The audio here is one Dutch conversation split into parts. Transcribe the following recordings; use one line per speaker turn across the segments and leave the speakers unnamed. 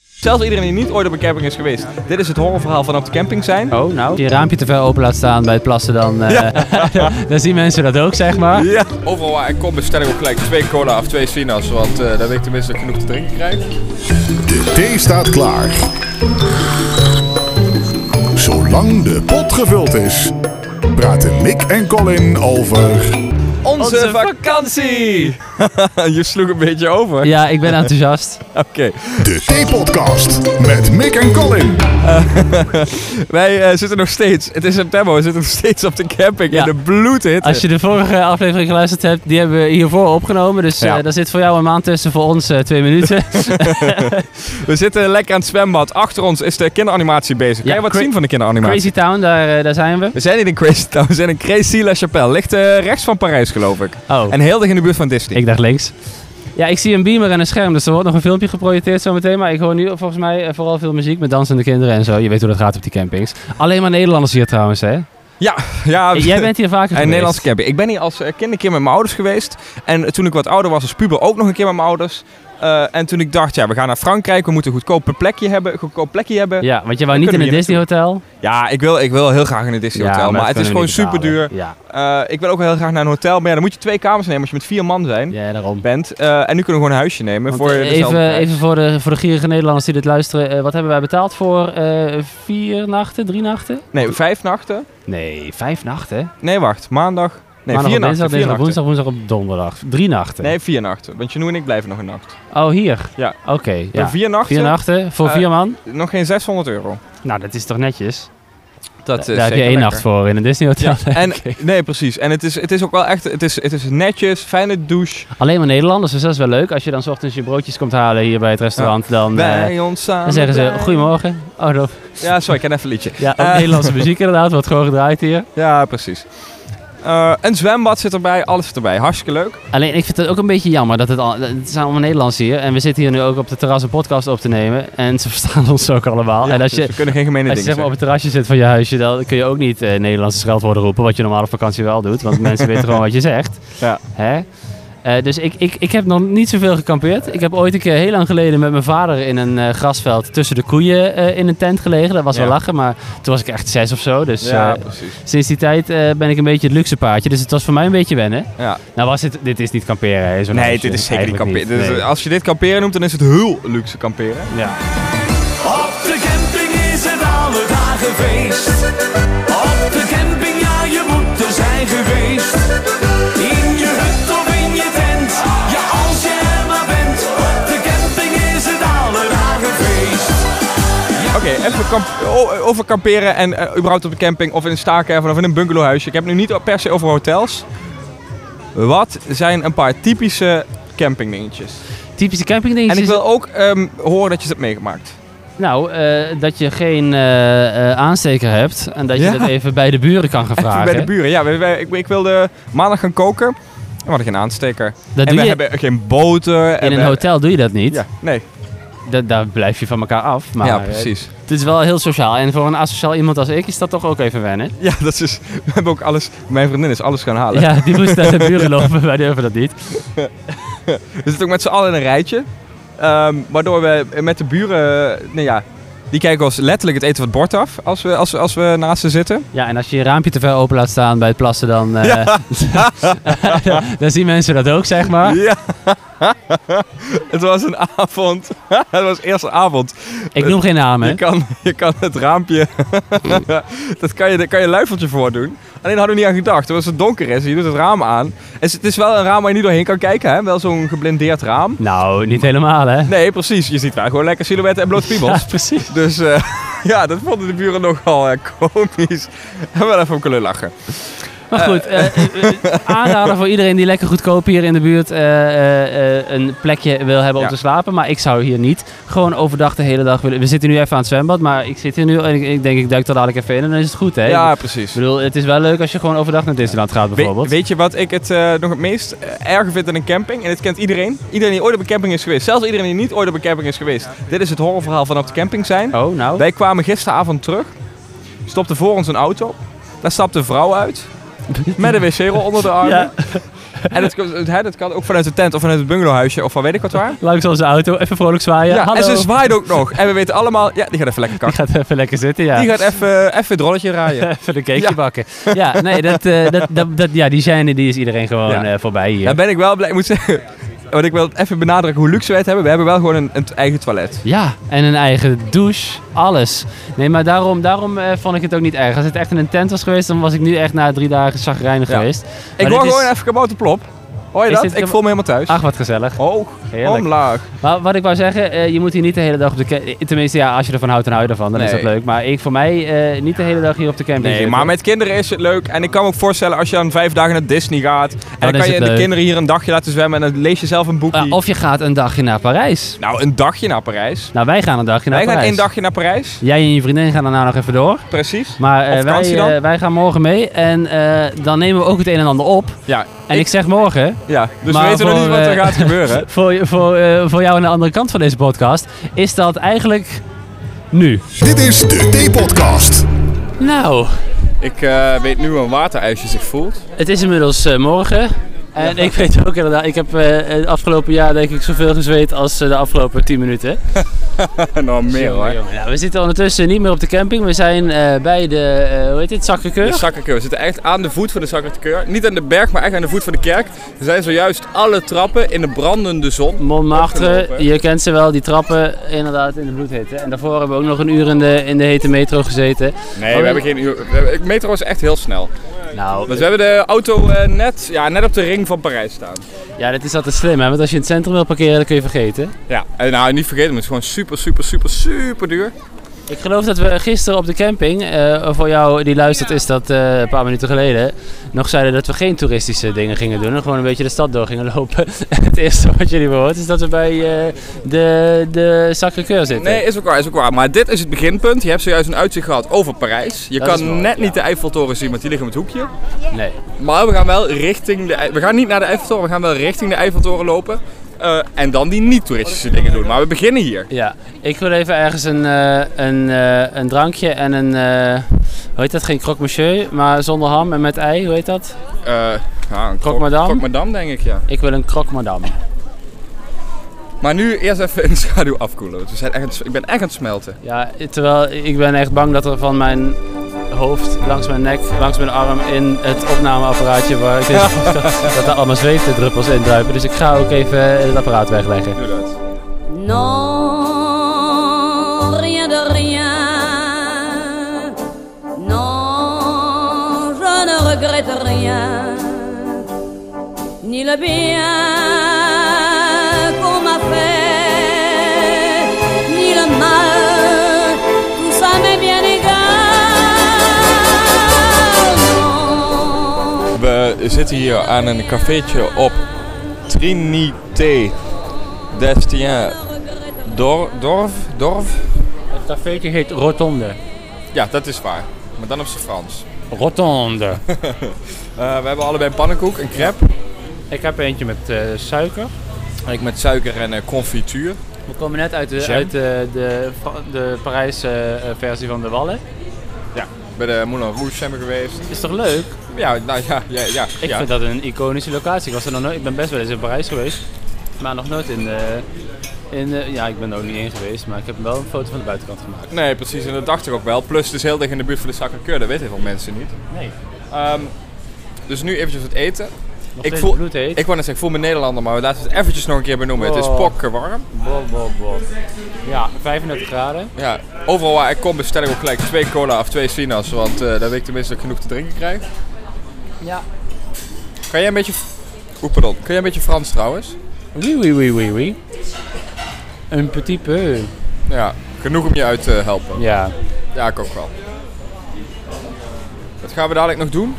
Zelfs iedereen die niet ooit op een camping is geweest. Dit is het horrorverhaal van op de camping zijn.
Oh, nou.
je raampje te ver open laat staan bij het plassen, dan, eh, dan zien mensen dat ook, zeg maar.
Ja.
Overal waar ik kom bestel ik ook gelijk twee cola of twee sinaas, want eh dan weet ik tenminste dat ik genoeg te drinken krijg.
De thee staat klaar. Zolang de pot gevuld is, praten Mick en Colin over
Onze vakantie! je sloeg een beetje over.
Ja, ik ben enthousiast.
Oké.
de Thee-podcast met Mick en Colin.
Wij eh, zitten nog steeds, het is september, we zitten nog steeds op de camping
Ja.
in de bloedhitte.
Als je de vorige aflevering geluisterd hebt, die hebben we hiervoor opgenomen. Dus eh
Ja.
daar zit voor jou een maand tussen, voor ons eh, twee minuten.
We zitten lekker aan het zwembad. Achter ons is de kinderanimatie bezig. Kan
Ja,
je wat
cra-
zien van de kinderanimatie?
Crazy Town, daar, eh, daar zijn we.
We zijn niet in Crazy Town, we zijn in Crazy La Chapelle. Ligt eh, rechts van Parijs, geloof ik.
Oh,
En heel dicht in de buurt van Disney.
ik dacht links. Ja, ik zie een beamer en een scherm, dus er wordt nog een filmpje geprojecteerd zometeen. Maar ik hoor nu volgens mij eh, vooral veel muziek met dansende kinderen en zo. Je weet hoe dat gaat op die campings. Alleen maar Nederlanders hier trouwens, hè?
Ja, ja.
Jij bent hier vaker
Een
geweest.
Nederlandse camping. Ik ben hier als eh, kind een keer met mijn ouders geweest. En eh, toen ik wat ouder was als puber ook nog een keer met mijn ouders. Eh, en toen ik dacht, ja, we gaan naar Frankrijk. We moeten een goedkoop plekje hebben. Goedkoop plekje hebben. Ja,
Ja, want je wou niet in
kunnen
het
we
Disney Hotel.
ik, wil, ik wil heel graag in het Disney Hotel. Maar, het is gewoon super duur.
Ja,
ik wil ook wel heel graag naar een hotel. Maar ja, dan moet je twee kamers nemen als je met vier man zijn,
ja daarom.
bent. Eh, en nu kunnen we gewoon een huisje nemen.
Want,
voor
eh,
dezelfde
even,
prijs.
even voor de, voor de gierige Nederlanders die dit luisteren. eh, wat hebben wij betaald voor eh, vier nachten, drie nachten?
Nee, vijf nachten.
Nee, vijf nachten. Nee,
Nee, wacht. Maandag. Nee,
Maandag
vier
op dinsdag,
nachten. Vier nachten.
dinsdag, woensdag, woensdag op donderdag. Drie nachten.
Nee, vier nachten. Want Janoe en ik blijven nog een nacht.
Oh, hier.
Ja.
Oké, ja.
Vier nachten.
Vier nachten voor
Eh,
vier man.
Nog geen 600 euro.
Nou, dat is toch netjes?
Dat
Daar heb je één nacht voor in een Disney Hotel.
Ja, en, nee, precies. En het is, het is ook wel echt, het is, het is netjes, fijne douche.
Alleen maar Nederlanders, dus dat is wel leuk. Als je dan 's ochtends je broodjes komt halen hier bij het restaurant, dan, eh,
Bij ons samen.
dan zeggen ze
bij-
goedemorgen. Oh, dat-
Ja, sorry, ik ken even een liedje.
ja, ook
Eh.
Nederlandse muziek inderdaad, wordt gewoon gedraaid hier.
Ja, precies. Eh, een zwembad zit erbij, alles zit erbij. Hartstikke leuk.
Alleen ik vind het ook een beetje jammer dat het al. Het zijn allemaal Nederlands hier. En we zitten hier nu ook op de terras een podcast op te nemen. En ze verstaan ons ook allemaal. en als
Dus
je,
we kunnen geen gemene
als je
dingen
zeg maar op
zeggen.
het terrasje zit van je huisje, dan kun je ook niet eh Nederlandse scheldwoorden roepen. Wat je normaal op vakantie wel doet. Want mensen weten gewoon wat je zegt.
Ja.
Hè? Eh, dus ik, ik, ik heb nog niet zoveel gekampeerd. Ik heb ooit een keer heel lang geleden met mijn vader in een eh, grasveld tussen de koeien eh, in een tent gelegen. Dat was
Ja.
wel lachen, maar toen was ik echt zes of zo. Dus
Ja,
eh,
precies.
sinds die tijd eh, ben ik een beetje het luxe paardje. Dus het was voor mij een beetje wennen.
Ja.
Nou was het, dit is niet kamperen hè, zo'n
Nee,
huisje.
dit is zeker niet
Eigenlijk
kamperen. Dit is-
nee.
Als je dit kamperen noemt, dan is het heel luxe kamperen.
Ja.
Op de camping is het alle dagen feest. Op de camping, ja, je moet er zijn geweest. In je hut of in je tent, ja, als je er maar bent. Op de camping is het alle dagen feest.
Oké, even kamp- o- over kamperen en eh, überhaupt op de camping of in een staakerven of in een bungalowhuisje. Ik heb het nu niet per se over hotels. Wat zijn een paar typische campingdingetjes?
Typische campingdingetjes.
eh, En ik wil ook ehm, horen dat je het hebt meegemaakt.
Nou, eh, dat je geen eh, eh, aansteker hebt en dat je
Ja.
dat even bij de buren kan gaan vragen.
Bij de buren, ja. wij- wij- ik, ik wilde maandag gaan koken. En we hadden geen aansteker.
Dat
en
doe
we
je
hebben geen boter. en
in een
we-
hotel doe je dat niet.
Ja, nee.
Da- daar blijf je van elkaar af. Maar
ja,
eh,
precies.
het is wel heel sociaal. En voor een asociaal iemand als ik is dat toch ook even wennen.
Ja, dat is... We hebben ook alles... Mijn vriendin is alles gaan halen.
Ja, die moest naar de buren lopen. Wij durven dat niet.
We zitten ook met z'n allen in een rijtje. Ehm, waardoor we met de buren... eh, Nou ja, die kijken ons letterlijk het eten van het bord af. Als we, als, we- als we naast ze zitten.
Ja, en als je je raampje te ver open laat staan bij het plassen, dan, eh, dan zien mensen dat ook, zeg maar.
Ja. het was een avond. het was eerst een avond.
Ik noem geen namen.
Je
hè.
kan, je kan het raampje, dat kan je, daar kan je een luifeltje voor doen. Alleen hadden we niet aan gedacht. Als het donker is, en je doet het raam aan. Het is, het is wel een raam waar je niet doorheen kan kijken, hè? Wel zo'n geblindeerd raam.
Nou, niet helemaal, hè?
Nee, precies. Je ziet daar gewoon lekker silhouetten en blote piemels.
Ja, precies.
Dus eh, ja, dat vonden de buren nogal eh, komisch. En wel even om kunnen lachen.
Maar goed, eh eh, eh, aanrader voor iedereen die lekker goedkoop hier in de buurt eh, eh, eh, een plekje wil hebben om
Ja.
te slapen. Maar ik zou hier niet gewoon overdag de hele dag willen. We zitten nu even aan het zwembad, maar ik zit hier nu en ik, ik denk ik duik er dadelijk even in en dan is het goed, hè?
Ja,
Ik
precies.
bedoel, het is wel leuk als je gewoon overdag naar Disneyland gaat
We-
bijvoorbeeld.
weet je wat ik het eh, nog het meest eh, erger vind aan een camping? En dit kent iedereen. Iedereen die ooit op een camping is geweest. Zelfs iedereen die niet ooit op een camping is geweest. Dit is het horrorverhaal van op de camping zijn.
Oh, nou.
Wij kwamen gisteravond terug. Stopte voor ons een auto. Daar stapte een vrouw uit. Met een wc-rol onder de arm.
Ja.
En het, het- hè, dat kan ook vanuit de tent of vanuit het bungalowhuisje of van weet ik wat waar.
Langs onze auto, even vrolijk
Ja,
zwaaien. Hallo.
en ze zwaait ook nog. En we weten allemaal, ja, die gaat even lekker
Die
kakken.
gaat even lekker zitten, ja.
Die gaat even, even het rolletje rijden.
Even een cakeje
Ja.
bakken. Ja, nee, dat, eh, dat, dat, dat, ja, die zijn die is iedereen gewoon
Ja.
eh, voorbij hier.
Daar ben ik wel blij. Ik moet zeggen, want ik wil even benadrukken hoe luxe wij het hebben. We hebben wel gewoon een, een eigen toilet.
Ja, en een eigen douche, alles. Nee, maar daarom, daarom eh, vond ik het ook niet erg. Als het echt in een tent was geweest, dan was ik nu echt na drie dagen chagrijnig
Ja.
geweest.
Ik
dit
hoor
is-
gewoon even kabouterplop. Hoor je
Is
dat?
dit
Ik
kab-
voel me helemaal thuis.
Ach, wat gezellig.
Hoog,
Heerlijk.
omlaag.
Maar wat ik wou zeggen, eh, je moet hier niet de hele dag op de camping... Tenminste, ja, als je ervan houdt, dan hou je ervan. Dan is
Nee.
dat leuk. Maar ik, voor mij eh, niet de hele dag hier op de camping
Nee,
zitten.
maar met kinderen is het leuk. En ik kan me ook voorstellen als je dan vijf dagen naar Disney gaat. En dan,
is
kan je
het
de
leuk.
kinderen hier een dagje laten zwemmen. En dan lees je zelf een boekje.
Ah, of je gaat een dagje naar Parijs.
Nou, een dagje naar Parijs.
Nou, wij gaan een dagje naar
Wij gaan
Parijs.
één dagje naar Parijs.
Jij en je vriendin gaan daarna nog even door.
Precies.
Maar eh,
Op
wij,
vakantie dan?
eh, wij gaan morgen mee. En eh, dan nemen we ook het een en ander op.
Ja,
En ik, zeg morgen,
ja. dus
Maar
we weten nog
voor,
niet wat er
eh,
gaat gebeuren.
voor, je- voor, eh, voor jou aan de andere kant van deze podcast, is dat eigenlijk nu.
Dit is de T-podcast.
Nou,
Ik eh, weet nu hoe een waterijsje zich voelt.
het is inmiddels eh, morgen. En ik weet ook inderdaad, ik heb eh, het afgelopen jaar denk ik zoveel gezweet als eh, de afgelopen 10 minuten.
nou, meer
Jongen,
hoor.
jongen. Nou, we zitten ondertussen niet meer op de camping. We zijn eh, bij de, eh, hoe heet dit,
De
zakkenkeur.
Sacré-Cœur. We zitten echt aan de voet van de Sacré-Cœur. Niet aan de berg, maar echt aan de voet van de kerk. Er zijn zojuist alle trappen in de brandende zon.
Montmartre,
Opgelopen.
je kent ze wel, die trappen inderdaad in de bloedhitte. En daarvoor hebben we ook nog een uur in de, in de hete metro gezeten.
Nee, we hebben geen uur. we hebben- Metro is echt heel snel.
Nou,
Dus we hebben de auto eh, net, ja, net op de ring van Parijs staan.
ja, dit is altijd slim hè, want als je in het centrum wil parkeren, dan kun je vergeten.
Ja, en nou niet vergeten, maar het is gewoon super, super, super, super duur.
Ik geloof dat we gisteren op de camping, eh, voor jou die luistert is dat eh, een paar minuten geleden, nog zeiden dat we geen toeristische dingen gingen doen. En gewoon een beetje de stad door gingen lopen. En het eerste wat jullie hoort is dat we bij eh, de, de Sacré-Cœur zitten.
Nee, is ook waar, is ook waar. Maar dit is het beginpunt. Je hebt zojuist een uitzicht gehad over Parijs. Je
Dat is
kan
waar,
net
ja.
niet de Eiffeltoren zien, want die liggen op het hoekje.
Nee.
Maar we gaan wel richting de... Ei- We gaan niet naar de Eiffeltoren, we gaan wel richting de Eiffeltoren lopen. Eh, en dan die niet-toeristische dingen doen. Maar we beginnen hier.
Ja, ik wil even ergens een, eh, een, eh, een drankje en een, eh, hoe heet dat, geen croque monsieur, maar zonder ham en met ei, hoe heet dat?
Eh ja, een
Croque Madame?
Croque Madame, denk ik, ja.
Ik wil een croque madame.
Maar nu eerst even in de schaduw afkoelen. want we zijn echt aan het- ik ben echt aan het smelten.
Ja, terwijl ik ben echt bang dat er van mijn hoofd, langs mijn nek, langs mijn arm in het opnameapparaatje waar ik deze podcast- dat daar allemaal zweefdruppels in druipen. Dus ik ga ook even het apparaat wegleggen.
Doe dat.
Non, rien de rien. Non, je ne regrette rien. Ni le bien qu'on m'a fait, ni le mal, tout ça m'est bien égal. Non.
We zitten hier aan een cafeetje op Trinité d'Estien Dor Dorf. Dorf?
Het cafeetje heet Rotonde.
Ja, dat is waar. Maar dan op zijn Frans.
Rotonde.
Eh, we hebben allebei een pannenkoek, een crepe.
Ik heb eentje met eh, suiker.
Ik met suiker en eh, confituur.
We komen net uit de,
Jam?
uit de, de, de Parijse eh, versie van de Wallen.
Ja. Bij de Moulin Rouge zijn we geweest.
Is toch leuk?
Ja, nou ja, ja, ja.
Ik
ja.
vind dat een iconische locatie. Ik, was er nog nooit, ik ben best wel eens in Parijs geweest, maar nog nooit in de... In de- ja, ik ben er ook niet in geweest, maar ik heb wel een foto van de buitenkant gemaakt.
Nee, precies. En dat dacht ik ook wel. Plus, het is heel dicht in de buurt van de Sacré-Cœur. Dat weten veel mensen niet.
Nee.
Ehm, dus nu eventjes wat eten.
Nog
Ik
steeds
voel-
bloedheet.
Ik wou net zeggen, ik voel me Nederlander, maar laten we het eventjes nog een keer benoemen. Het is
Oh.
pokken warm.
Bo, bo, bo. Ja, 35 graden.
Ja, overal waar ik kom bestel ik ook gelijk twee cola of twee sinaas. Want eh daar weet ik tenminste dat ik genoeg te drinken krijg.
Ja.
Kan jij een beetje... Oeh, pardon. Kun jij een beetje Frans trouwens?
Oui, oui, oui, oui, oui. Een petit peu.
Ja, genoeg om je uit te helpen.
Ja.
Ja, ik ook wel. Wat gaan we dadelijk nog doen?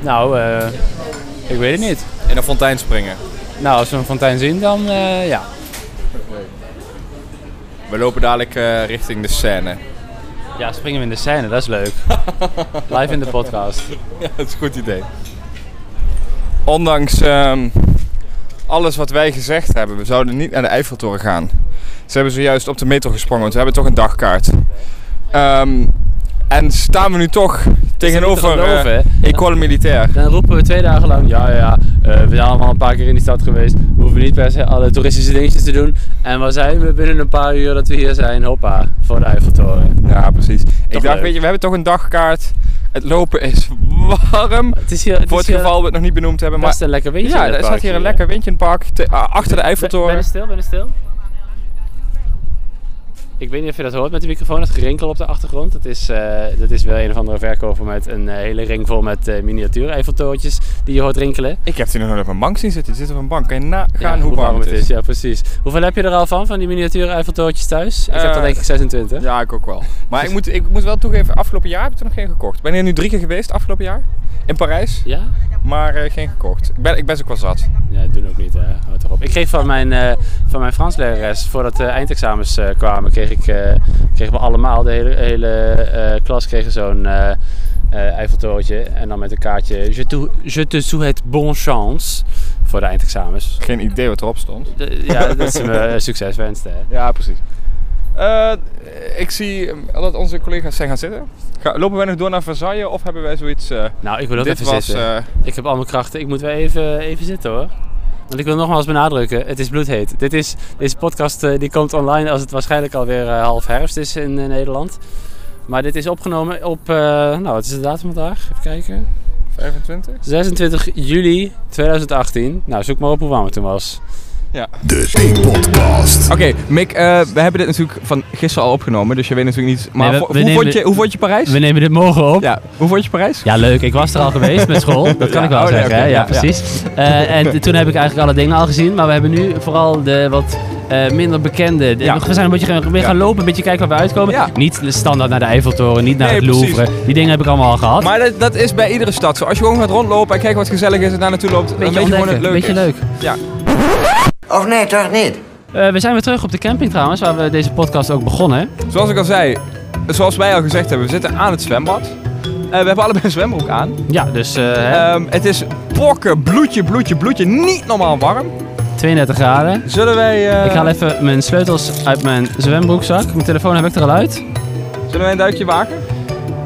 Nou, eh, ik weet het niet.
In een fontein springen.
Nou, als we een fontein zien, dan eh, ja.
We lopen dadelijk eh, richting de scène.
Ja, springen we in de scène, dat is leuk. Live in de podcast.
Ja, dat is een goed idee. Ondanks ehm, alles wat wij gezegd hebben, we zouden niet naar de Eiffeltoren gaan. Ze hebben zojuist op de metro gesprongen, want we hebben toch een dagkaart. Ehm, en staan we nu toch
Tegenover
niet te geloven,
eh,
hè?
École Militaire.
Dan roepen we twee dagen lang, ja, ja, ja, eh, we zijn allemaal een paar keer in die stad geweest. We hoeven niet per se alle toeristische dingetjes te doen. En waar zijn we binnen een paar uur dat we hier zijn? Hoppa, voor de Eiffeltoren.
Ja, precies. ik dacht,
leuk.
weet je, we hebben toch een dagkaart. Het lopen is warm.
Het is hier, het
Voor
is
het
eh, hier
geval we het nog niet benoemd hebben. Maar
best een lekker windje
ja,
in het
er staat
parkje,
hier een
hè?
lekker windje in het park. te- ah, achter de
Ben, ben je
Eiffeltoren.
stil, ben je stil? Ik weet niet of je dat hoort met de microfoon, het gerinkel op de achtergrond. Dat is, eh, dat is wel een of andere verkoper met een eh, hele ring vol met eh miniatuur Eiffeltorentjes die je hoort rinkelen.
Ik heb die nog nooit op een bank zien zitten. Die zit op een bank. Kan je nagaan
Ja,
hoe warm het is?
Ja, precies. Hoeveel heb je er al van, van die miniatuur Eiffeltorentjes thuis? Ik heb er
Eh,
denk ik 26.
Ja, ik ook wel. Maar ik moet, ik moet wel toegeven, afgelopen jaar heb ik er nog geen gekocht. Ik ben hier nu drie keer geweest afgelopen jaar. In Parijs.
Ja?
Maar eh, geen gekocht. Ik ben, ik ben ook wel zat.
Ja, doen ook niet, hè. Houd toch op. Ik kreeg van mijn, eh, van mijn Frans lerares, voordat de eindexamens eh, kwamen, kreeg ik, eh, kregen we allemaal, de hele, hele eh, klas kregen zo'n eh eh, Eiffeltorentje. En dan met een kaartje, je, te- je te souhaite bonne chance voor de eindexamens.
Geen idee wat erop stond.
De- ja, dat ze me eh, succes wensten, hè.
Ja, precies. Eh, ik zie eh, dat onze collega's zijn gaan zitten. Ga- lopen wij nog door naar Versailles of hebben wij zoiets... eh,
Nou, ik wil ook
dit
even
was...
zitten.
eh,
Ik heb al mijn krachten. Ik moet wel even, even zitten hoor. Want ik wil nogmaals benadrukken, het is bloedheet. Dit is, deze podcast eh, die komt online als het waarschijnlijk alweer eh, half herfst is in eh, Nederland. Maar dit is opgenomen op, eh, nou wat is de datum vandaag? Even kijken.
25?
26 juli 2018. Nou, zoek maar op hoe warm het toen was.
De T-podcast.
Oké, Mick, eh, we hebben dit natuurlijk van gisteren al opgenomen, dus je weet natuurlijk niet... Maar
Nee, we-
vo-
we
hoe,
nemen-
vond je, hoe vond je Parijs?
nemen dit morgen op.
Ja, hoe vond je Parijs?
Ja, leuk. Ik was er al geweest met school. Dat kan
Ja,
ik wel
oh, nee,
zeggen.
oké,
hè. ja,
ja, ja.
precies. Eh, en toen heb ik eigenlijk alle dingen al gezien. Maar we hebben nu vooral de wat eh, minder bekende. de-
Ja.
We zijn een beetje gaan, weer gaan
Ja.
lopen, een beetje kijken waar we uitkomen.
Ja.
Niet standaard naar de Eiffeltoren, niet naar
Nee,
het Louvre.
precies.
Die dingen heb ik allemaal al gehad.
Maar dat, dat is bij iedere stad zo. Als je gewoon gaat rondlopen en kijkt wat gezellig is en daar naartoe loopt, dan
beetje
weet je gewoon dat het leuk
ontdekken,
is.
beetje leuk.
Ja.
Of nee, toch niet?
Eh, we zijn weer terug op de camping trouwens, waar we deze podcast ook begonnen.
Zoals ik al zei, zoals wij al gezegd hebben, we zitten aan het zwembad. Eh, we hebben allebei een zwembroek aan.
Ja, dus eh, hè,
Ehm, het is pokken, bloedje, bloedje, bloedje. Niet normaal warm.
32 graden.
Zullen wij, eh,
Ik haal even mijn sleutels uit mijn zwembroekzak. Mijn telefoon heb ik er al uit.
zullen wij een duikje wagen?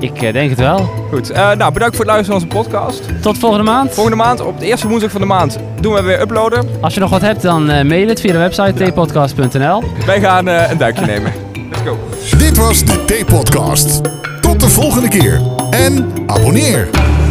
Ik eh, denk het wel.
Goed. eh, nou, bedankt voor het luisteren naar onze podcast.
Tot volgende maand.
Volgende maand, op de eerste woensdag van de maand, doen we weer uploaden.
Als je nog wat hebt, dan eh, mail het via de website tpodcast.nl.
Wij gaan eh, een duikje nemen. Let's go.
Dit was de T-podcast. Tot de volgende keer. En abonneer.